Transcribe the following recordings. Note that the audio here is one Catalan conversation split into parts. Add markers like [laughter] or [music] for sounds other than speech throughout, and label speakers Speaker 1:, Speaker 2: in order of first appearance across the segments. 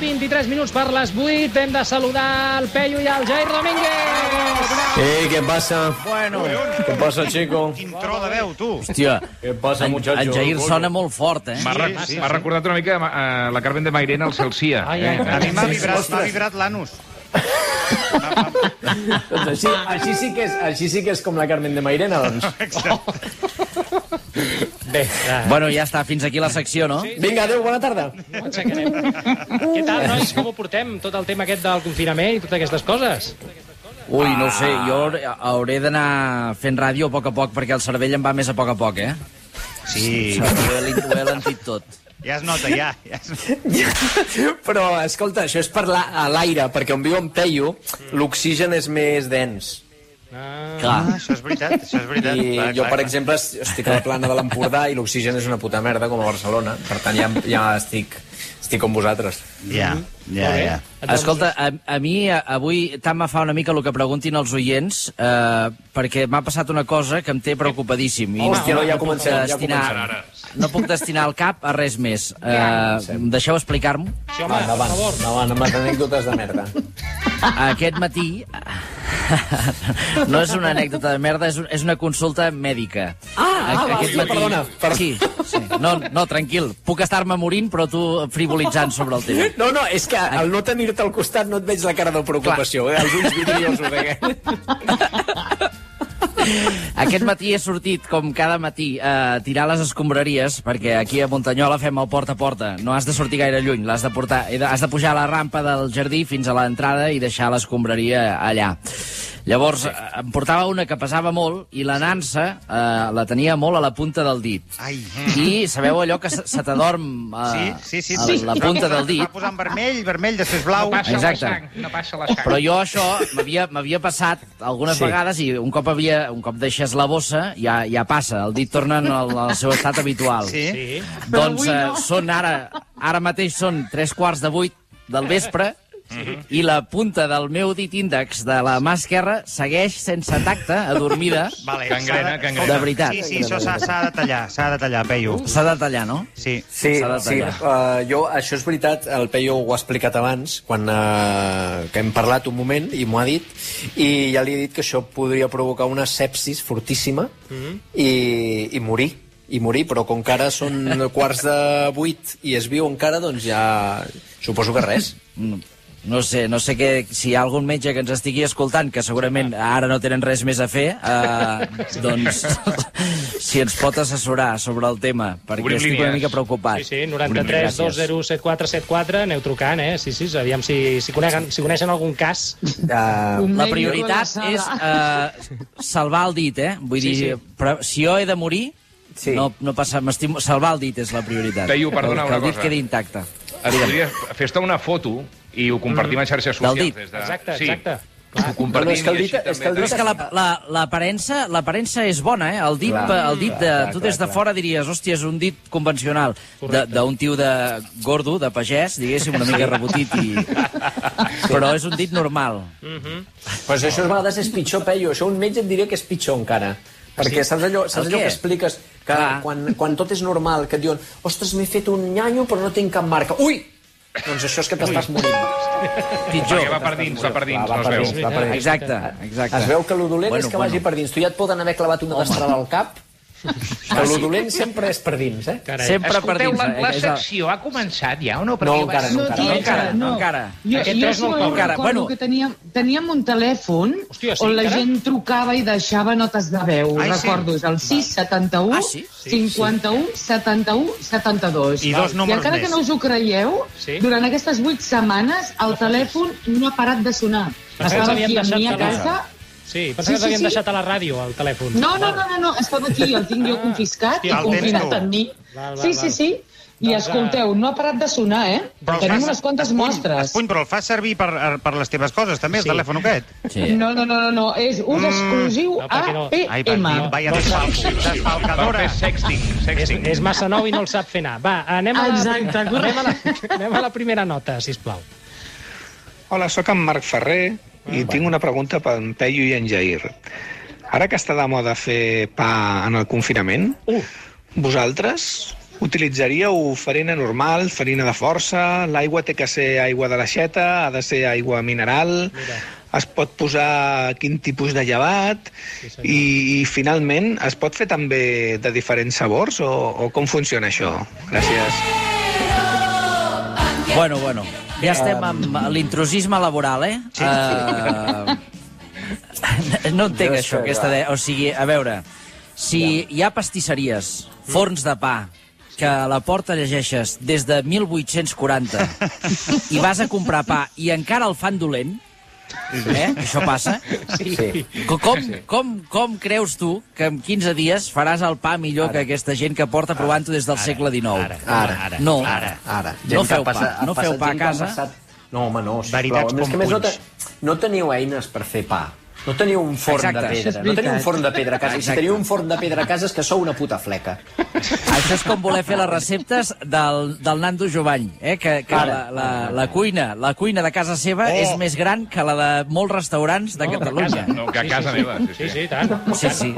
Speaker 1: 23 minuts per les 8. Hem de saludar el Peyu i el Jair Domínguez.
Speaker 2: Eh, ¿qué pasa?
Speaker 3: Bueno,
Speaker 2: ¿Qué pasa, chico?
Speaker 4: Quin tro de
Speaker 2: eh?
Speaker 4: veu, tu.
Speaker 3: hòstia,
Speaker 2: ¿Qué pasa,
Speaker 3: en,
Speaker 2: muchacho?
Speaker 3: en Jair
Speaker 2: Coño.
Speaker 3: sona molt fort, eh?
Speaker 5: M'ha
Speaker 4: Sí,
Speaker 5: re-
Speaker 4: sí,
Speaker 5: m'ha
Speaker 4: sí.
Speaker 5: recordat una mica eh, la Carmen de Mairena al Celsia.
Speaker 1: Ai, ai,
Speaker 5: eh?
Speaker 4: A mi m'ha
Speaker 2: Sí, sí,
Speaker 4: vibrat, m'ha
Speaker 2: ostres.
Speaker 4: vibrat l'anus.
Speaker 2: Doncs així, així, sí que és, així sí que és com la Carmen de Mairena, doncs. Bé,
Speaker 3: Bueno, ja està, fins aquí la secció, no?
Speaker 2: vinga, adeu, bona tarda.
Speaker 1: Ho
Speaker 6: [laughs]
Speaker 1: aixecarem. Què tal, nois? Com ho portem, tot el tema aquest del confinament i totes aquestes coses?
Speaker 3: Ui,
Speaker 2: Ah.
Speaker 3: no ho sé, jo hauré- hauré d'anar fent ràdio a poc a poc perquè el cervell em va més a poc a poc, eh?
Speaker 4: Sí.
Speaker 3: Ho he lent- ho he lentit tot.
Speaker 4: Ja es nota, ja. ja es...
Speaker 2: Però, escolta, això és parlar a l'aire, perquè on viu en Peyu, l'oxigen és més dens.
Speaker 4: Ah,
Speaker 3: Clar.
Speaker 4: això és veritat, això és veritat.
Speaker 2: I
Speaker 4: Clar,
Speaker 2: jo,
Speaker 4: clar,
Speaker 2: per
Speaker 4: clar.
Speaker 2: exemple, es- estic a la plana de l'Empordà i l'oxigen és una puta merda, com a Barcelona. Per tant, ja, ja estic, estic com vosaltres.
Speaker 4: Ja, ja, ja.
Speaker 2: Ah, doncs.
Speaker 3: Escolta, a, a mi a- avui tant me fa una mica el que preguntin els oients, eh, perquè m'ha passat una cosa que em té preocupadíssim. I
Speaker 2: Hòstia, no, ja
Speaker 3: puc
Speaker 2: comencem, ja comencem
Speaker 3: destinar,
Speaker 5: ara.
Speaker 3: no puc destinar el cap a res més. Eh, deixeu explicar-m'ho.
Speaker 1: Sí, home, per
Speaker 2: endavant,
Speaker 1: favor.
Speaker 2: endavant, amb les anècdotes de merda.
Speaker 3: Aquest matí... [laughs] No és una anècdota de merda, és, un- és una consulta mèdica.
Speaker 2: ah,
Speaker 3: A-
Speaker 2: va, sí, perdona, per-
Speaker 3: Sí, sí. No, no, tranquil. Puc estar-me morint, però tu frivolitzant sobre el tema.
Speaker 2: No, no, és que al no tenir-te al costat no et veig la cara de preocupació, eh? els ulls vidriosos. Eh?
Speaker 3: Aquest matí he sortit, com cada matí, a tirar les escombraries, perquè aquí a Montanyola fem el porta a porta. No has de sortir gaire lluny, l'has de portar... he de- Has de pujar a la rampa del jardí fins a l'entrada i deixar l'escombraria allà. Llavors, eh, em portava una que pesava molt i la nansa eh, la tenia molt a la punta del dit.
Speaker 4: Ai. eh.
Speaker 3: I sabeu allò que se se t'adorm eh,
Speaker 4: Mm. Sí, sí, sí.
Speaker 3: a
Speaker 4: sí.
Speaker 3: la punta del
Speaker 4: Va
Speaker 3: dit?
Speaker 4: posant vermell, vermell, després blau.
Speaker 5: No passa
Speaker 3: Exacte.
Speaker 5: la sang, no passa la sang.
Speaker 3: Però jo això m'havia m'havia passat algunes
Speaker 2: Sí.
Speaker 3: sí. vegades i un cop havia un cop deixes la bossa ja ja passa, el dit torna en el, al seu estat habitual.
Speaker 4: Sí.
Speaker 1: Sí.
Speaker 3: Doncs eh, són ara ara mateix són tres quarts de vuit del vespre i la punta del meu dit índex de la mà esquerra segueix sense tacte, adormida.
Speaker 4: Vale,
Speaker 5: Gangrena,
Speaker 4: s'ha
Speaker 5: gangrena.
Speaker 3: De veritat.
Speaker 4: Sí, sí, això s'ha s'ha de tallar, s'ha de tallar, Peyu.
Speaker 3: S'ha de tallar, no?
Speaker 4: Sí.
Speaker 2: Sí,
Speaker 3: S'ha de
Speaker 2: sí
Speaker 3: tallar.
Speaker 2: uh, jo, això és veritat, el Peyo ho ha explicat abans, quan uh, que hem parlat un moment, i m'ho ha dit, i ja li he dit que això podria provocar una sepsis fortíssima
Speaker 3: Mhm.
Speaker 2: i, i morir i morir, però com que ara són quarts de vuit i es viu encara, doncs ja suposo que res.
Speaker 3: No sé, no sé que, si hi ha algun metge que ens estigui escoltant, que segurament ara no tenen res més a fer, eh,
Speaker 5: [laughs]
Speaker 3: doncs si ens pot assessorar sobre el tema, perquè
Speaker 5: Obrim
Speaker 3: estic una
Speaker 5: línies.
Speaker 3: mica preocupat.
Speaker 1: Sí, sí, 93 207474, aneu trucant, eh? Sí, sí, aviam si, si, coneguen, si coneixen algun cas.
Speaker 2: Uh,
Speaker 3: La prioritat és eh, salvar el dit, eh? Vull dir, però si jo he de morir,
Speaker 2: Sí.
Speaker 3: no, no passa... m'estimo- Salvar el dit és la prioritat.
Speaker 5: Peyu, perdona
Speaker 3: Que el
Speaker 5: una
Speaker 3: dit
Speaker 5: cosa.
Speaker 3: quedi intacte.
Speaker 5: Et podries fer-te una foto Mm. i ho compartim a xarxes
Speaker 3: Del
Speaker 5: socials.
Speaker 3: dit.
Speaker 5: Des de...
Speaker 1: Exacte,
Speaker 5: sí.
Speaker 1: exacte.
Speaker 5: Ho
Speaker 2: No, no,
Speaker 5: compartim
Speaker 2: és que el
Speaker 5: i
Speaker 2: dit-
Speaker 5: així
Speaker 2: és que el
Speaker 5: també-
Speaker 3: Però és que la- la- l'aparença la, és bona, eh? El dit,
Speaker 2: Clar,
Speaker 3: el dit de,
Speaker 2: clar,
Speaker 3: tu
Speaker 2: clar,
Speaker 3: des de
Speaker 2: clar.
Speaker 3: fora diries, hòstia, és un dit convencional de- d'un tio de gordo, de pagès, diguéssim, una mica rebotit, i... però és un dit normal.
Speaker 2: Però si això a vegades és pitjor, Peyu. Això un metge et diria que és pitjor encara. Perquè saps allò, saps
Speaker 3: El
Speaker 2: allò
Speaker 3: què?
Speaker 2: que expliques? Que
Speaker 3: Clar.
Speaker 2: quan, quan tot és normal, que et diuen ostres, m'he fet un nyanyo però no tinc cap marca. Ui! Doncs això és que t'estàs morint.
Speaker 5: Perquè va
Speaker 3: Pitjor.
Speaker 5: per dins, va per dins,
Speaker 2: Va, va
Speaker 5: no
Speaker 2: per
Speaker 5: es
Speaker 2: dins,
Speaker 5: veu.
Speaker 2: va per dins.
Speaker 3: Exacte, exacte.
Speaker 2: Es veu que lo dolent
Speaker 3: Bueno,
Speaker 2: és que
Speaker 3: bueno.
Speaker 2: vagi per dins. Tu ja et poden haver clavat una destrada al cap,
Speaker 3: Ah,
Speaker 2: que lo dolent sempre és per dins, eh?
Speaker 1: Carai.
Speaker 3: Sempre per
Speaker 5: Escolteu,
Speaker 3: dins.
Speaker 5: la,
Speaker 3: eh?
Speaker 5: la
Speaker 3: És el-
Speaker 5: secció ha començat ja o no?
Speaker 2: No, encara no, encara
Speaker 3: No
Speaker 2: no.
Speaker 3: encara, no encara.
Speaker 6: Jo,
Speaker 1: Aquest
Speaker 6: jo
Speaker 1: tres
Speaker 6: sí
Speaker 1: no el
Speaker 6: que
Speaker 1: cobro.
Speaker 6: recordo
Speaker 3: Bueno.
Speaker 6: que teníem, teníem un telèfon
Speaker 1: Hòstia, sí,
Speaker 6: on la
Speaker 1: encara?
Speaker 6: gent trucava i deixava notes de veu.
Speaker 4: Ai, sí?
Speaker 6: recordo, és el 6 71
Speaker 3: Ah, sí?
Speaker 6: 51 71 72.
Speaker 4: I dos
Speaker 6: I
Speaker 4: números
Speaker 6: encara
Speaker 4: més.
Speaker 6: que no us ho creieu,
Speaker 1: Sí.
Speaker 6: durant aquestes 8 setmanes el telèfon no ha parat de sonar.
Speaker 1: Pensava
Speaker 6: Estava
Speaker 1: que havien
Speaker 6: aquí amb mi a
Speaker 1: deixat que no.
Speaker 6: casa...
Speaker 1: Sí, pensava
Speaker 6: Sí,
Speaker 1: que
Speaker 6: sí,
Speaker 1: l'havien
Speaker 6: sí.
Speaker 1: deixat a la ràdio, al telèfon.
Speaker 6: No, no, no, no, no, estava aquí, el tinc jo confiscat
Speaker 4: hòstia,
Speaker 6: i
Speaker 4: el tens
Speaker 6: confinat
Speaker 4: tu.
Speaker 6: amb mi.
Speaker 1: Val, val,
Speaker 6: Sí, sí,
Speaker 1: val.
Speaker 6: sí. I
Speaker 1: Doncs,
Speaker 6: escolteu, no ha parat de sonar, eh?
Speaker 4: Però el
Speaker 6: Tenim
Speaker 4: fas-
Speaker 6: unes quantes
Speaker 4: Espuny,
Speaker 6: mostres.
Speaker 4: Espuny, però el fas servir per, per les teves coses, també, el
Speaker 1: Sí.
Speaker 4: telèfon aquest?
Speaker 3: Sí.
Speaker 6: No, no, no, no, no, és ús
Speaker 3: Mm.
Speaker 6: exclusiu
Speaker 1: no, perquè no.
Speaker 4: Ai, per
Speaker 6: APM.
Speaker 4: dir, vaya desfalco,
Speaker 5: Va
Speaker 4: desfalcadora.
Speaker 5: fer sexting,
Speaker 1: És,
Speaker 5: sexting.
Speaker 1: és massa nou i no el sap fer anar. Va, anem a la,
Speaker 6: Exacte,
Speaker 1: anem a la, anem a la primera nota, sisplau.
Speaker 7: Hola, sóc en Marc Ferrer i tinc una pregunta per en Peyu i en Jair. Ara que està de moda fer pa en el confinament,
Speaker 1: Uh.
Speaker 7: vosaltres Utilitzaríeu farina normal, farina de força, l'aigua té que ser aigua de l'aixeta, ha de ser aigua mineral, Mira. es pot posar quin tipus de llevat sí, i, i, finalment, es pot fer també de diferents sabors o, o com funciona això? Gràcies.
Speaker 3: Bueno, bueno,
Speaker 2: Eh,
Speaker 3: ja estem amb l'intrusisme laboral, eh? Sí.
Speaker 2: [laughs]
Speaker 3: no entenc
Speaker 2: Jo
Speaker 3: això,
Speaker 2: sé,
Speaker 3: aquesta de... O sigui, a veure, si hi ha pastisseries,
Speaker 2: Mm.
Speaker 3: forns de pa, que a la porta llegeixes des de
Speaker 2: [laughs]
Speaker 3: 1840 i vas a comprar pa i encara el fan dolent, eh? Això passa.
Speaker 2: Sí.
Speaker 3: Co- Com, com, com creus tu que en 15 dies faràs el pa millor que aquesta gent que porta provant-ho des del segle
Speaker 1: ara,
Speaker 3: XIX?
Speaker 2: Ara.
Speaker 1: ara,
Speaker 3: No.
Speaker 1: ara.
Speaker 2: Ara.
Speaker 3: No
Speaker 2: que
Speaker 3: feu
Speaker 2: ha passat-
Speaker 3: pa,
Speaker 2: ha
Speaker 3: no feu
Speaker 2: passat
Speaker 3: pa a
Speaker 2: gent que ha
Speaker 3: casa.
Speaker 2: Passat... No, home, no, sisplau.
Speaker 4: Veritats
Speaker 2: A més que
Speaker 4: com
Speaker 2: a més no, te,
Speaker 4: punys.
Speaker 2: no teniu eines per fer pa. No teniu un forn
Speaker 3: Exacte.
Speaker 2: de
Speaker 3: Això és
Speaker 2: pedra. No teniu un forn de pedra a casa. I Si
Speaker 3: Exacte.
Speaker 2: teniu un forn de pedra a casa és que sou una puta fleca.
Speaker 3: Això és com voler fer les receptes del, del Nando Jovany, eh? que, que la, la, la, cuina, la cuina de casa seva oh. és més gran que la de molts restaurants de
Speaker 1: No, de
Speaker 3: Catalunya.
Speaker 1: casa.
Speaker 5: No, que a casa
Speaker 1: sí,
Speaker 5: meva, sí, sí.
Speaker 1: Sí, sí, i tant.
Speaker 3: Sí, sí.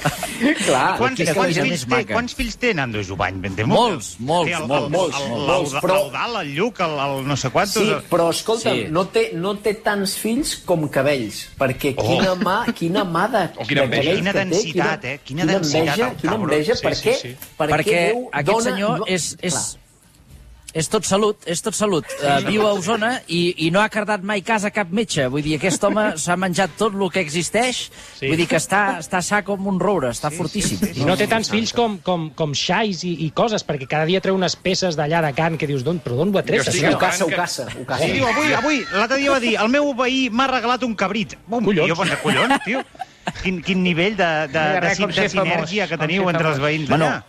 Speaker 2: Clar.
Speaker 4: Quants,
Speaker 3: Aquesta
Speaker 4: quants,
Speaker 3: gent
Speaker 4: fills
Speaker 3: és
Speaker 4: té,
Speaker 3: maca.
Speaker 4: quants fills té Nando Jovany? Vendem
Speaker 3: Molts, molts, molts,
Speaker 2: molts, però-
Speaker 4: L'Eudal, el Lluc, el, el no sé quantos...
Speaker 2: Sí,
Speaker 4: el-
Speaker 2: però escolta,
Speaker 3: Sí.
Speaker 2: sí. no, té, no té tants fills com cabells, perquè oh. quina, mà, quina mà de,
Speaker 5: Oh,
Speaker 2: de
Speaker 5: quina enveja.
Speaker 2: cabells
Speaker 4: Quina
Speaker 2: que
Speaker 4: densitat,
Speaker 2: té,
Speaker 4: eh? Quina densitat,
Speaker 2: enveja,
Speaker 4: el
Speaker 2: quina
Speaker 4: cabron.
Speaker 2: enveja,
Speaker 1: Sí,
Speaker 2: per
Speaker 1: sí,
Speaker 2: què?
Speaker 1: sí.
Speaker 3: Perquè
Speaker 2: Déu
Speaker 3: aquest
Speaker 2: dona-
Speaker 3: senyor
Speaker 2: no-
Speaker 3: és, és,
Speaker 2: Clar.
Speaker 3: és tot salut, és tot salut. Uh, viu a Osona i, i no ha cardat mai casa cap metge. Vull dir, aquest home s'ha menjat tot el que existeix.
Speaker 1: Sí.
Speaker 3: Sí. Vull dir que està, està sa com un roure, està sí, fortíssim. Sí,
Speaker 1: I no té tants fills com, com, com xais i, i coses, perquè cada dia treu unes peces d'allà de can que dius, d'on, però d'on ho ha tret?
Speaker 5: Jo
Speaker 2: Sí,
Speaker 5: estic
Speaker 1: això?"
Speaker 2: ho caça, ho
Speaker 5: que-
Speaker 2: caça, ho
Speaker 4: Sí,
Speaker 2: caça.
Speaker 4: diu, avui, avui, l'altre dia va dir, el meu veí m'ha regalat un cabrit. Bum, collons. Jo pensava, collons, tio. Quin, quin nivell de, de,
Speaker 8: No hi ha
Speaker 4: de,
Speaker 8: res
Speaker 4: de,
Speaker 8: com
Speaker 4: de
Speaker 8: ser famós,
Speaker 4: sinergia que
Speaker 8: com
Speaker 4: teniu
Speaker 8: ser
Speaker 4: entre els
Speaker 8: famós.
Speaker 4: veïns eh?
Speaker 3: Bueno,
Speaker 4: d'allà.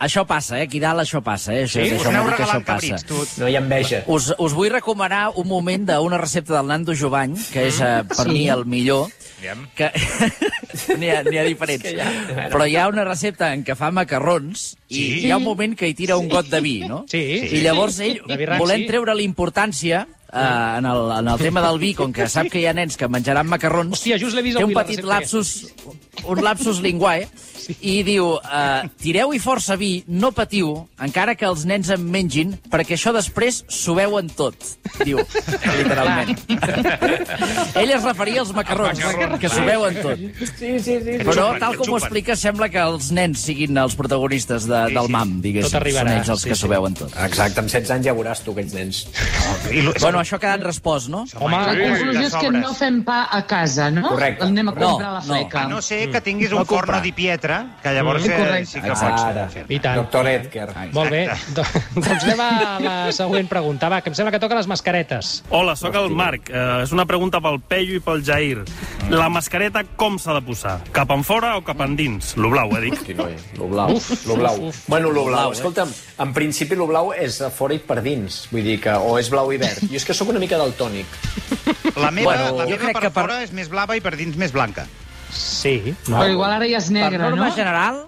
Speaker 3: això passa, eh? Aquí dalt això passa, eh? Això,
Speaker 4: Sí, us
Speaker 3: això,
Speaker 4: aneu
Speaker 3: vol dir que
Speaker 4: regalant
Speaker 3: això passa.
Speaker 4: cabrits, tu.
Speaker 2: No hi ha enveja.
Speaker 3: Us, us vull recomanar un moment d'una recepta del Nando Jovany, que és eh, per sí. mi el millor.
Speaker 5: Aviam.
Speaker 3: Que... [laughs] N'hi ha, n'hi ha diferents.
Speaker 2: És que ja-
Speaker 3: Però hi ha una recepta en què fa macarrons i sí. hi ha un moment que hi tira un got de vi, no?
Speaker 1: Sí. Sí.
Speaker 3: I llavors ell,
Speaker 1: De vi ranci.
Speaker 3: volent treure la importància eh, en, el, en el tema del vi, com que sap que hi ha nens que menjaran macarrons,
Speaker 1: Hòstia, just l'he vist eh,
Speaker 3: té un
Speaker 1: avui, la
Speaker 3: petit
Speaker 1: recepta
Speaker 3: lapsus, un lapsus linguae, i diu, uh, tireu-hi força vi, no patiu, encara que els nens en mengin, perquè això després s'ho veuen tot, diu, literalment. Ell es referia als macarrons,
Speaker 5: macarrons,
Speaker 3: que s'ho veuen tot.
Speaker 2: Sí, sí, sí.
Speaker 3: Però,
Speaker 4: xupen,
Speaker 3: tal
Speaker 4: que
Speaker 3: com ho
Speaker 4: xupen.
Speaker 3: explica, sembla que els nens siguin els protagonistes de, del MAM, diguéssim.
Speaker 1: Tot arribarà,
Speaker 3: Són ells els
Speaker 1: sí,
Speaker 3: que
Speaker 1: sí.
Speaker 3: s'ho veuen tot.
Speaker 4: Ah,
Speaker 2: Exacte, amb 16 anys ja veuràs tu aquells nens.
Speaker 4: I lo-
Speaker 3: Bueno, això ha quedat respost, no?
Speaker 1: Home,
Speaker 6: La
Speaker 5: Sí,
Speaker 6: conclusió és que
Speaker 4: sobres.
Speaker 6: no fem pa a casa, no?
Speaker 2: Correcte.
Speaker 6: Anem a comprar
Speaker 3: No, Ah,
Speaker 6: la
Speaker 3: no.
Speaker 6: fleca.
Speaker 4: A no ser que tinguis
Speaker 3: No
Speaker 4: un forno
Speaker 3: comprar.
Speaker 4: di pietra, que llavors
Speaker 6: Mm,
Speaker 4: eh,
Speaker 6: correcte.
Speaker 4: sí que
Speaker 2: Ara.
Speaker 4: pots fer.
Speaker 1: I tant.
Speaker 2: Doctor Edgar.
Speaker 1: Molt bé, Do- doncs anem a la següent pregunta. Va, que em sembla que toca les mascaretes.
Speaker 9: Hola, sóc el Marc. Eh, és una pregunta pel Pello i pel Jair. La mascareta com s'ha de posar? Cap en fora o cap en dins? Lo blau, eh, dic.
Speaker 2: Hosti, noi, lo blau, lo blau.
Speaker 1: uf, uf.
Speaker 2: bueno, lo blau,
Speaker 3: eh?
Speaker 2: escolta'm, en principi lo blau és a fora i per dins, vull dir que o és blau i verd. Jo és que sóc una mica daltònic.
Speaker 4: La meva,
Speaker 3: Bueno,
Speaker 4: la
Speaker 3: jo
Speaker 4: meva
Speaker 3: crec
Speaker 4: per,
Speaker 3: que per-
Speaker 4: fora és més blava i per dins més blanca.
Speaker 1: Sí.
Speaker 6: Però igual ara ja és
Speaker 3: Per
Speaker 6: negre,
Speaker 3: norma
Speaker 6: no?
Speaker 3: general,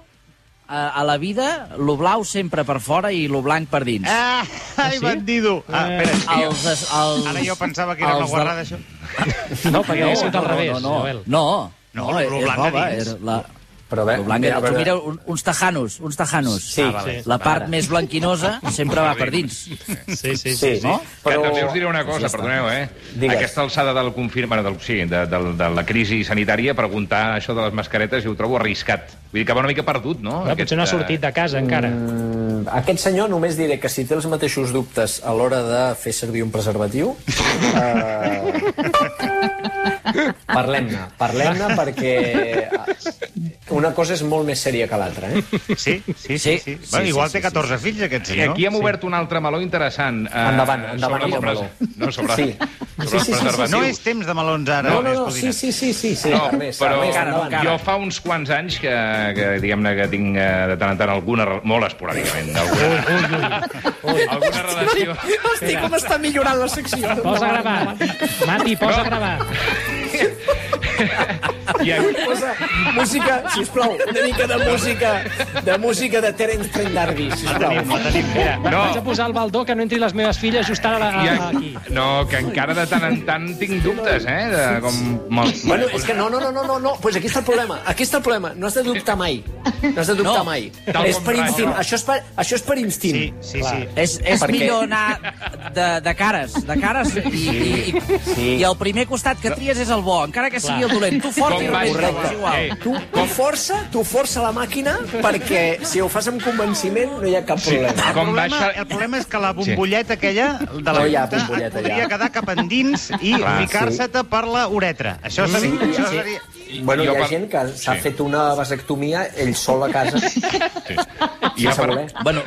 Speaker 3: a, a la vida, lo blau sempre per fora i lo blanc per dins.
Speaker 4: Ah, ai, bandido! Ah, espera, tio.
Speaker 3: Els, es- Eh, els,
Speaker 4: Ara jo pensava que era
Speaker 3: els
Speaker 4: una
Speaker 3: del-
Speaker 4: guarrada, això.
Speaker 1: No, perquè hauria sigut
Speaker 3: no,
Speaker 1: al revés,
Speaker 3: no,
Speaker 1: Joel.
Speaker 3: no, no,
Speaker 4: No,
Speaker 3: no, no,
Speaker 4: lo
Speaker 3: és
Speaker 4: blanc a
Speaker 3: roba,
Speaker 4: dins.
Speaker 3: és la...
Speaker 2: Però a veure,
Speaker 3: Lo blanc,
Speaker 2: mira, a
Speaker 3: tu
Speaker 2: veure-
Speaker 3: mira un- uns tajanos, uns tajanos.
Speaker 4: Ah,
Speaker 2: Sí,
Speaker 1: sí.
Speaker 3: La part més blanquinosa sempre va per dins.
Speaker 1: Sí, sí, sí.
Speaker 2: Sí,
Speaker 1: sí.
Speaker 2: no? Però...
Speaker 5: Però... també us diré una cosa, perdoneu, eh?
Speaker 2: Digues.
Speaker 5: Aquesta alçada del confir... Bueno, del, sí, de, de, de la crisi sanitària, preguntar això de les mascaretes jo ho trobo arriscat. Vull dir que va una mica perdut, no? eh,
Speaker 1: Bueno, potser no ha sortit de casa, encara.
Speaker 2: Mm, Aquest senyor només diré que si té els mateixos dubtes a l'hora de fer servir un preservatiu... Eh... Parlem-ne, parlem-ne perquè eh, una cosa és molt més sèria que l'altra, eh?
Speaker 4: Sí, sí, sí. sí,
Speaker 3: Sí,
Speaker 4: sí.
Speaker 3: sí,
Speaker 4: Bueno,
Speaker 3: sí,
Speaker 4: igual
Speaker 3: sí,
Speaker 4: té 14 fills, aquest
Speaker 5: I
Speaker 4: senyor.
Speaker 5: aquí hem obert un altre meló interessant. Eh,
Speaker 2: Endavant, endavant,
Speaker 5: sobre
Speaker 2: amb el
Speaker 5: les-
Speaker 2: meló.
Speaker 5: No, sobre,
Speaker 2: Sí. Sí, sí, sí,
Speaker 5: sobre
Speaker 2: sí,
Speaker 5: els
Speaker 2: sí.
Speaker 5: preservatius.
Speaker 4: No és temps de melons ara. eh,
Speaker 2: No, no, no, sí,
Speaker 4: Escudiner.
Speaker 2: sí, sí, sí, sí.
Speaker 5: No,
Speaker 2: Ernest,
Speaker 5: però
Speaker 2: Ernest, endavant.
Speaker 5: jo fa uns quants anys que, que diguem-ne que tinc eh, de tant en tant alguna... re- Molt esporàdicament. Alguna, alguna relació...
Speaker 2: Hosti, com està millorant la secció.
Speaker 1: Posa a gravar. Mati, posa a gravar.
Speaker 5: I aquí,
Speaker 2: Posa música, sisplau, una mica de música, de música de Terence Trent D'Arby, sisplau.
Speaker 5: no,
Speaker 1: Vaig a posar el baldó que no entri les meves filles just ara a
Speaker 5: i
Speaker 3: Ah,
Speaker 1: la, a,
Speaker 5: en-
Speaker 1: aquí.
Speaker 5: no, que encara de tant en tant tinc dubtes, eh? De com...
Speaker 2: Bueno, és que no, no, no, no, no, no, pues aquí està el problema, aquí està el problema, no has de dubtar mai. No has de dubtar no.
Speaker 3: No.
Speaker 2: mai.
Speaker 5: Tal
Speaker 2: És
Speaker 5: com
Speaker 2: per
Speaker 5: Rafa.
Speaker 2: instint. Això és per, això és per instint.
Speaker 4: Sí, sí, sí.
Speaker 3: És, és
Speaker 2: Perquè-
Speaker 3: millor anar de, de cares, de cares, i, i, i, sí. i el primer costat que tries és el bo, encara que sigui
Speaker 1: Clar.
Speaker 3: el dolent. Tu fort i
Speaker 5: Com vas,
Speaker 3: rebent,
Speaker 5: com
Speaker 3: és igual.
Speaker 5: Eh,
Speaker 2: Tu, tu, força, tu força la màquina perquè si ho fas amb convenciment no hi ha cap problema.
Speaker 4: El
Speaker 5: Com
Speaker 4: problema,
Speaker 5: baixa-
Speaker 4: el problema és que la bombolleta aquella de la
Speaker 2: No hi ha
Speaker 4: punta et
Speaker 2: bombolleta,
Speaker 4: podria
Speaker 2: ja.
Speaker 4: quedar cap endins i
Speaker 5: Clar,
Speaker 4: ficar-se-te per la uretra. Això seria...
Speaker 2: Sí,
Speaker 4: això
Speaker 2: sí.
Speaker 4: seria...
Speaker 2: Bueno,
Speaker 5: Jo
Speaker 2: hi ha
Speaker 5: per-
Speaker 2: gent que s'ha
Speaker 5: sí.
Speaker 2: fet una vasectomia ell sol a casa.
Speaker 5: Sí. I ja per...
Speaker 2: voler.
Speaker 3: Bueno,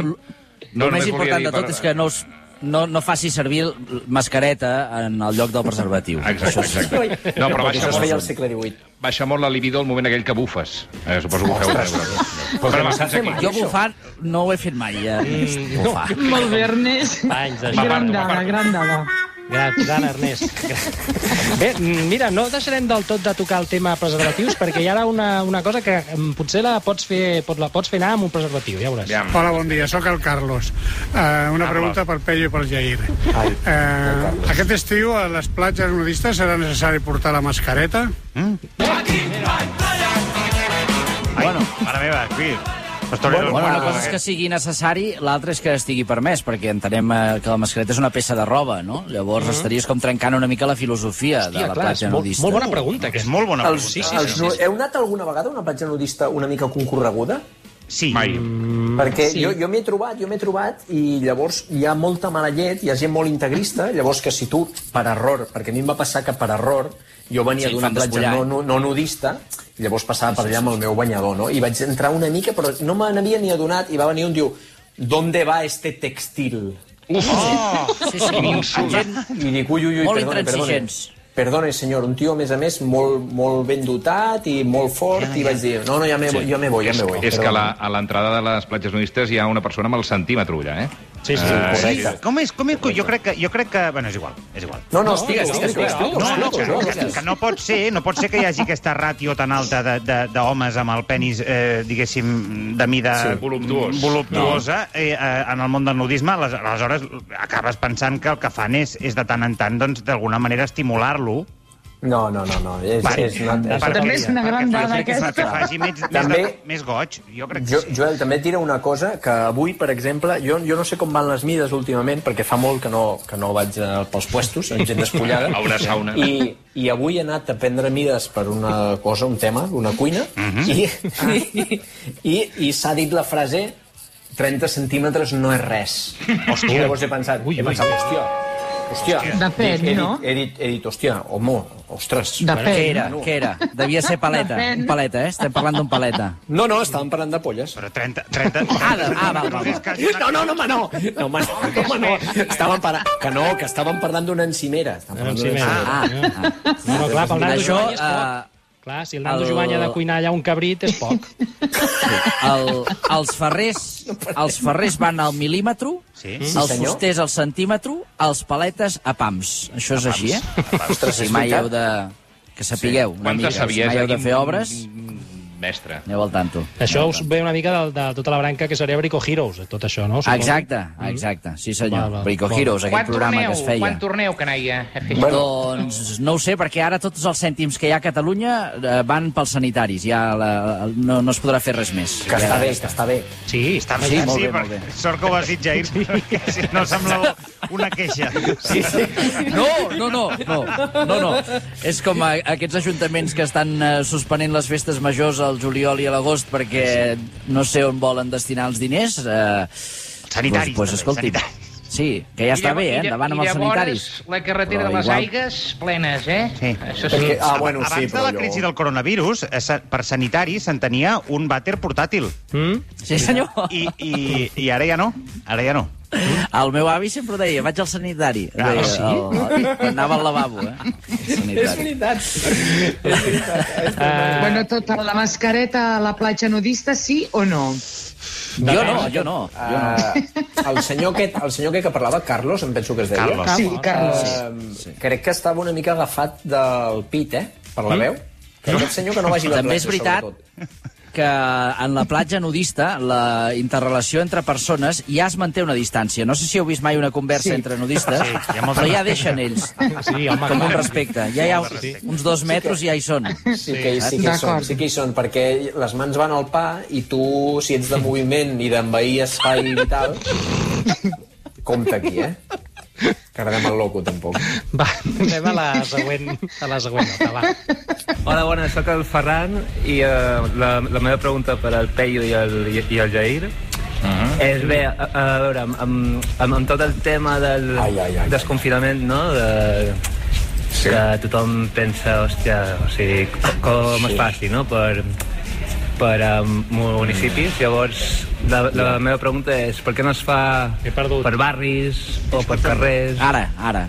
Speaker 5: No,
Speaker 3: no, el
Speaker 5: només
Speaker 3: més important
Speaker 5: volia dir
Speaker 3: de tot
Speaker 5: per-
Speaker 3: és que no, us, no, no faci servir l- mascareta en el lloc del preservatiu.
Speaker 5: Exacte, exacte. No, però
Speaker 2: Perquè
Speaker 5: baixa
Speaker 2: això es feia al
Speaker 5: molt,
Speaker 2: segle XVIII.
Speaker 5: baixa molt la libido el moment aquell que bufes. Eh, suposo que ho feu. Però,
Speaker 2: que
Speaker 5: va,
Speaker 2: no s'ha
Speaker 5: fins
Speaker 2: fet
Speaker 5: aquí.
Speaker 2: mai.
Speaker 3: Jo bufant no ho he fet mai. Eh? Mm, bufar.
Speaker 6: Molt bé, Ernest.
Speaker 1: [laughs] Anys de
Speaker 6: Gran
Speaker 5: M'aparto,
Speaker 6: dada,
Speaker 5: m'aparto.
Speaker 6: gran dada.
Speaker 1: Gran, gran Ernest. Gran. Bé, mm, mira, no deixarem del tot de tocar el tema preservatius perquè hi ha ara una, una cosa que mm, potser la pots fer, pot, la pots fer anar amb un preservatiu, ja veuràs.
Speaker 5: Aviam.
Speaker 8: Hola, bon dia, sóc el Carlos. Uh, una pregunta per Pello i per Jair.
Speaker 2: Ai,
Speaker 8: Uh, aquest estiu a les platges nudistes serà necessari portar la mascareta?
Speaker 4: Bueno, mare meva, aquí...
Speaker 3: Bueno, una
Speaker 4: eh.
Speaker 3: cosa és que sigui necessari, l'altra és que estigui permès, perquè entenem eh, que la mascareta és una peça de roba, no? Llavors estaries com trencant una mica la filosofia Hòstia, de la
Speaker 1: clar, és
Speaker 3: platja
Speaker 1: molt,
Speaker 3: nudista.
Speaker 1: molt bona pregunta,
Speaker 4: És
Speaker 1: aquesta.
Speaker 4: molt bona
Speaker 2: Els,
Speaker 4: pregunta.
Speaker 2: sí, sí, els, nu- Heu anat alguna vegada a una platja nudista una mica concorreguda?
Speaker 4: Sí.
Speaker 5: Mai.
Speaker 2: Perquè sí. jo, jo m'hi he trobat, jo m'hi he trobat, i llavors hi ha molta mala llet, hi ha gent molt integrista, llavors que si tu, per error, perquè a mi em va passar que per error, jo venia
Speaker 3: Sí,
Speaker 2: sí, d'una
Speaker 3: fan
Speaker 2: platja
Speaker 3: despullar.
Speaker 2: no, no, no nudista, i llavors passava per allà amb el meu banyador, no? I vaig entrar una mica, però no me n'havia ni adonat, i va venir un diu, ¿dónde va este textil?
Speaker 5: Uf,
Speaker 3: Sí, sí.
Speaker 5: quin insult.
Speaker 2: I dic, ui, ui, ui,
Speaker 3: Molt
Speaker 2: perdone, perdone.
Speaker 3: intransigents.
Speaker 2: Perdone, senyor, un tio, a més a més, molt, molt ben dotat i molt fort, i vaig dir, no, no, ja me, sí. jo me voy, ja
Speaker 5: és,
Speaker 2: me voy.
Speaker 5: és que
Speaker 2: perdone."
Speaker 5: la, a l'entrada de les platges nudistes hi ha una persona amb el centímetre allà, eh?
Speaker 1: Sí, sí.
Speaker 5: Ah,
Speaker 4: Sí,
Speaker 2: Correcte.
Speaker 4: com és, com és, jo crec que, jo crec que, bueno, és igual, és igual.
Speaker 2: No, no, explica,
Speaker 1: no,
Speaker 2: explica,
Speaker 1: no,
Speaker 2: explica.
Speaker 4: No, no,
Speaker 2: explica,
Speaker 4: que,
Speaker 2: no,
Speaker 4: que, que no pot ser, no pot ser que hi hagi aquesta ràtio tan alta de- de- d'homes amb el penis, eh, diguéssim, de mida
Speaker 5: Sí, voluptuós.
Speaker 4: voluptuosa eh, eh, en el món del nudisme. Ales- Aleshores, acabes pensant que el que fan és, és de tant en tant, doncs, d'alguna manera estimular-lo.
Speaker 2: No, no, no, no. És,
Speaker 4: Per-
Speaker 2: és, no és,
Speaker 4: perquè-
Speaker 6: També és una gran
Speaker 4: perquè
Speaker 6: dada,
Speaker 4: faci-
Speaker 6: aquesta.
Speaker 4: Perquè faci més, més,
Speaker 2: També-
Speaker 4: de, més goig, jo crec que
Speaker 2: jo,
Speaker 4: sí.
Speaker 2: Joel, també et diré una cosa, que avui, per exemple, jo, jo no sé com van les mides últimament, perquè fa molt que no, que no vaig eh, pels puestos, amb gent despullada.
Speaker 5: A una sauna.
Speaker 2: I, I avui he anat a prendre mides per una cosa, un tema, una cuina, i, i, i, i s'ha dit la frase 30 centímetres no és res. Hòstia. I llavors he pensat, ui, he pensat, hòstia, hòstia.
Speaker 6: De fet,
Speaker 2: he, dit-
Speaker 6: no?
Speaker 2: He dit, he dit, hòstia, homo, ostres.
Speaker 3: Què
Speaker 6: Depèn.
Speaker 3: era? Ah, Què era? Devia ser paleta.
Speaker 6: Depèn.
Speaker 3: Un paleta, eh? Estem parlant d'un paleta.
Speaker 2: No, no, estàvem parlant de polles.
Speaker 4: Però 30... 30
Speaker 3: Ah, de- ah, val, val,
Speaker 4: És
Speaker 3: val.
Speaker 4: que
Speaker 2: Ui,
Speaker 4: jo-
Speaker 2: no, no, no, home, no. No, home, no, home, no. Estàvem para... Que no, que estàvem parlant d'una encimera. Estàvem parlant d'una encimera.
Speaker 3: Ah, ah.
Speaker 1: No, no, clar, pel Nando
Speaker 3: Això,
Speaker 1: Jovany és poc.
Speaker 3: eh,
Speaker 1: Clar, si el Nando
Speaker 3: el-
Speaker 1: Jovany ha de cuinar allà un cabrit, és poc.
Speaker 3: el, els, ferrers, els ferrers van al mil·límetre,
Speaker 4: Sí.
Speaker 3: els
Speaker 2: senyor.
Speaker 3: fusters al centímetre, els paletes a pams. Això és així, eh?
Speaker 2: Ostres,
Speaker 3: Si
Speaker 2: és
Speaker 3: mai
Speaker 2: veritat.
Speaker 3: heu de... Que sapigueu una mica.
Speaker 5: Quanta saviesa.
Speaker 3: Si mai heu de
Speaker 5: quin-
Speaker 3: fer obres,
Speaker 5: Mestre.
Speaker 3: aneu al tanto.
Speaker 1: Això us ve una mica de, de tota la branca que seria Brico Heroes, tot això, no? Suposo.
Speaker 3: Exacte, exacte, sí senyor.
Speaker 1: Val, val.
Speaker 3: Brico
Speaker 1: Val.
Speaker 3: Heroes, aquest programa que es feia.
Speaker 10: torneu, canalla?
Speaker 2: Bueno.
Speaker 3: Doncs no ho sé, perquè ara tots els cèntims que hi ha a Catalunya eh, van pels sanitaris. Ja la, no, no es podrà fer res més.
Speaker 2: Que està bé, que està bé.
Speaker 1: Sí,
Speaker 4: Està
Speaker 1: està
Speaker 4: bé,
Speaker 3: Sí,
Speaker 4: sí,
Speaker 3: molt bé,
Speaker 4: perquè-
Speaker 3: molt bé.
Speaker 4: Sort que ho has dit, Jair, perquè si no sembla una queixa. Sí, sí.
Speaker 3: No, no, no, no, no, no. És com a, aquests ajuntaments que estan eh, suspenent les festes majors al juliol i a l'agost perquè no sé on volen destinar els diners. Eh,
Speaker 4: Sanitaris,
Speaker 3: doncs, doncs,
Speaker 4: també,
Speaker 3: escolti,
Speaker 4: sanitaris.
Speaker 3: Sí, que ja està bé, eh? Endavant amb els sanitaris.
Speaker 10: la carretera
Speaker 3: Però
Speaker 10: de les
Speaker 3: igual-
Speaker 10: aigues plenes, eh?
Speaker 4: Sí.
Speaker 10: Això sí.
Speaker 2: Perquè, ah, bueno,
Speaker 4: Abans
Speaker 2: sí,
Speaker 4: de
Speaker 2: però
Speaker 4: la crisi del coronavirus, eh, sa- per sanitari s'entenia un vàter portàtil.
Speaker 3: Sí, senyor.
Speaker 4: [laughs] I, i, I ara ja no, ara ja no.
Speaker 3: El meu avi sempre ho deia, vaig al sanitari.
Speaker 4: Ah,
Speaker 3: Deia,
Speaker 4: sí?
Speaker 3: El, el, anava al lavabo, eh? Al Sanitari.
Speaker 1: eh,
Speaker 6: Bueno, tota la mascareta a la platja nudista, sí o no?
Speaker 3: Jo no, jo no. Jo no.
Speaker 2: Uh, el, senyor que, el senyor que, que parlava, Carlos, em penso que es deia.
Speaker 4: Carlos.
Speaker 6: Sí, Carlos.
Speaker 2: Uh, sí. Crec que estava una mica agafat del pit, eh? Per la veu. Que aquest senyor que no vagi a la
Speaker 3: També és
Speaker 2: platja,
Speaker 3: veritat
Speaker 2: sobretot.
Speaker 3: que en la platja nudista la interrelació entre persones ja es manté una distància. No sé si heu vist mai una conversa
Speaker 1: Sí.
Speaker 3: entre nudistes,
Speaker 1: Sí, hi ha molta-
Speaker 3: però ja deixen ells.
Speaker 1: Sí, home,
Speaker 3: com un
Speaker 1: clar.
Speaker 3: respecte. Ja hi ha
Speaker 1: Sí.
Speaker 3: uns dos metres i ja hi són.
Speaker 2: Sí que, hi- sí, que hi són, sí que hi són, perquè les mans van al pa i tu, si ets de moviment i d'envair espai vital, compta aquí, eh? Que ara anem al loco, tampoc.
Speaker 1: Va, anem a la següent, a la següent nota, va.
Speaker 11: Hola, bona, sóc el Ferran i uh, la, la meva pregunta per al Peyu i el, i, i el Jair és, bé, a, a veure, amb, amb, amb tot el tema del ai, ai, ai, desconfinament, no?, de, sí. que tothom pensa, hòstia, o sigui, co- com sí.
Speaker 12: Sí.
Speaker 11: es faci, no?, per, per a municipis. Llavors, la, la
Speaker 12: Ja.
Speaker 11: meva pregunta és per què no es fa per barris o per carrers?
Speaker 3: Ara, ara.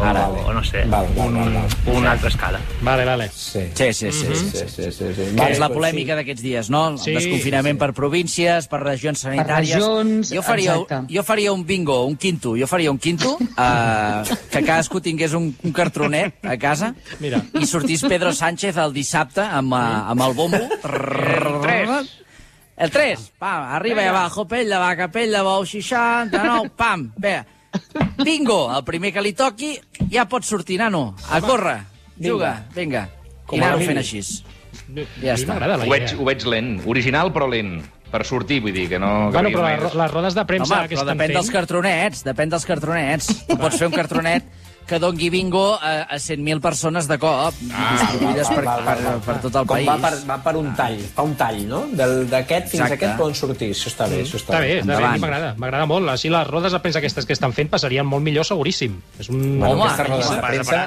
Speaker 11: O,
Speaker 3: Ara.
Speaker 11: o no sé, val, val, val, val.
Speaker 3: Mm.
Speaker 11: un, una altra escala.
Speaker 1: Vale, vale.
Speaker 2: Sí,
Speaker 3: sí, sí. sí,
Speaker 1: Mhm.
Speaker 3: sí,
Speaker 2: sí, sí, sí, doncs sí.
Speaker 3: Que és la polèmica d'aquests dies, no? El
Speaker 2: Sí,
Speaker 3: desconfinament per províncies, per regions sanitàries...
Speaker 10: regions,
Speaker 3: jo, faria,
Speaker 10: exacte.
Speaker 3: jo faria un bingo, un quinto. Jo faria un quinto, eh, que cadascú tingués un, un cartronet a casa
Speaker 1: Mira.
Speaker 3: i sortís Pedro Sánchez el dissabte amb, eh, amb el bombo.
Speaker 10: tres.
Speaker 3: El 3. Pam, arriba i abajo, pell de vaca, pell de bou, 69, pam. Bé, bingo, el primer que li toqui ja pot sortir, nano. A córrer, juga, vinga.
Speaker 5: Com
Speaker 3: I
Speaker 5: a
Speaker 3: anar-ho
Speaker 5: mínim.
Speaker 3: fent així. Ja està.
Speaker 1: Ah,
Speaker 5: Ho veig, ho veig lent. Original, però lent. Per sortir, vull dir, que no... Que
Speaker 1: Bueno,
Speaker 5: vegi
Speaker 1: però
Speaker 5: el
Speaker 1: les,
Speaker 5: més.
Speaker 1: les rodes de premsa
Speaker 3: Home,
Speaker 1: que
Speaker 3: però
Speaker 1: estan
Speaker 3: depèn
Speaker 1: fent...
Speaker 3: dels cartronets, depèn dels cartronets.
Speaker 2: [laughs]
Speaker 3: Tu pots fer un cartronet que dongui bingo a, a 100.000 persones de cop, ah, distribuïdes per, per, per, tot el
Speaker 2: Com
Speaker 3: país.
Speaker 2: Va per, va per un tall, fa un tall, no? Del- D'aquest fins a
Speaker 3: Exacte.
Speaker 2: aquest poden sortir, això està bé, això
Speaker 1: Està bé, està bé, a mi m'agrada, m'agrada molt. Així les rodes de premsa aquestes que estan fent passarien molt millor, seguríssim. És un...
Speaker 2: Bueno, Home, aquesta roda de premsa...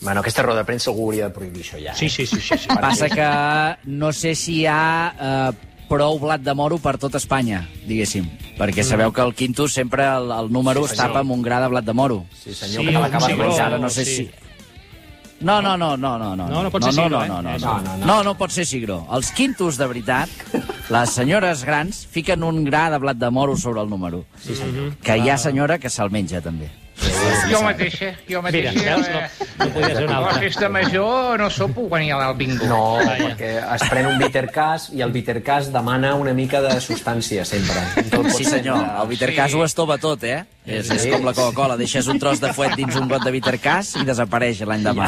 Speaker 2: Bueno, aquesta roda de premsa algú hauria de prohibir això ja. eh?
Speaker 1: Sí, sí, sí. sí, sí.
Speaker 3: Passa que no sé si hi ha eh, prou blat de moro per tot Espanya, diguéssim. Perquè sabeu que el quinto sempre el, el número
Speaker 2: Mm. Sí,
Speaker 3: sí, es
Speaker 2: senyor.
Speaker 3: tapa amb un gra de blat de moro.
Speaker 2: Sí, senyor, que te l'acabes de
Speaker 3: Doncs
Speaker 2: menjar.
Speaker 3: ara no sé si... No, no, no, no, no, no.
Speaker 2: No, no pot ser siglo,
Speaker 3: no,
Speaker 2: eh?
Speaker 3: no, no,
Speaker 2: Això.
Speaker 3: no, no, no, no pot ser siglo. Els quintos, de veritat, les senyores grans fiquen un gra de blat de moro sobre el número. Sí,
Speaker 10: senyor.
Speaker 3: Que hi ha senyora que se'l menja, també.
Speaker 10: Jo mateixa, jo mateixa...
Speaker 1: Mira, veus?
Speaker 10: eh,
Speaker 1: No podia ser una
Speaker 10: a la
Speaker 1: altra.
Speaker 10: festa major no sopo quan hi ha el bingo.
Speaker 2: No, perquè es pren un bittercast i el bittercast demana una mica de substància, sempre. Tot pot
Speaker 3: Sí,
Speaker 2: ser
Speaker 3: senyor,
Speaker 2: de-
Speaker 3: el Vitercas ho estova tot, eh? És, és
Speaker 2: Sí.
Speaker 3: com la Coca-Cola, deixes un tros de fuet dins un got de Vitercas i desapareix l'any demà.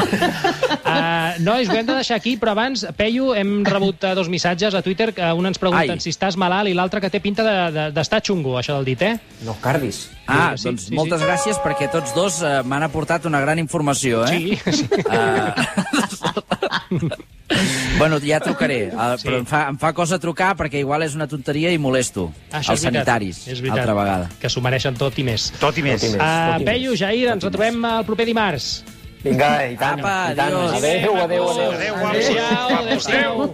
Speaker 1: Uh, nois, ho hem de deixar aquí, però abans, Peyu, hem rebut eh, dos missatges a Twitter, que un ens pregunten
Speaker 3: Ai.
Speaker 1: si estàs malalt i l'altre que té pinta de- de- d'estar de, xungo, això del dit, eh?
Speaker 2: No, cardis.
Speaker 3: Ah,
Speaker 1: Sí,
Speaker 3: doncs
Speaker 1: sí,
Speaker 3: moltes
Speaker 1: sí.
Speaker 3: gràcies perquè tots dos eh, m'han aportat una gran informació, eh?
Speaker 1: Sí, sí.
Speaker 3: bueno, ja trucaré, eh, però em fa, em fa cosa trucar perquè igual és una tonteria i molesto
Speaker 1: Això
Speaker 3: els
Speaker 1: és veritat,
Speaker 3: sanitaris,
Speaker 1: és veritat.
Speaker 3: altra vegada.
Speaker 1: Que s'ho mereixen tot i més.
Speaker 4: Tot i més.
Speaker 1: Uh, Peyu, Jair, ens retrobem el proper dimarts.
Speaker 2: Vinga, i tant.
Speaker 3: Apa,
Speaker 2: i tant.
Speaker 3: adiós.
Speaker 2: Adéu, adéu, adéu.
Speaker 1: Adéu, guapos. Adéu, adéu.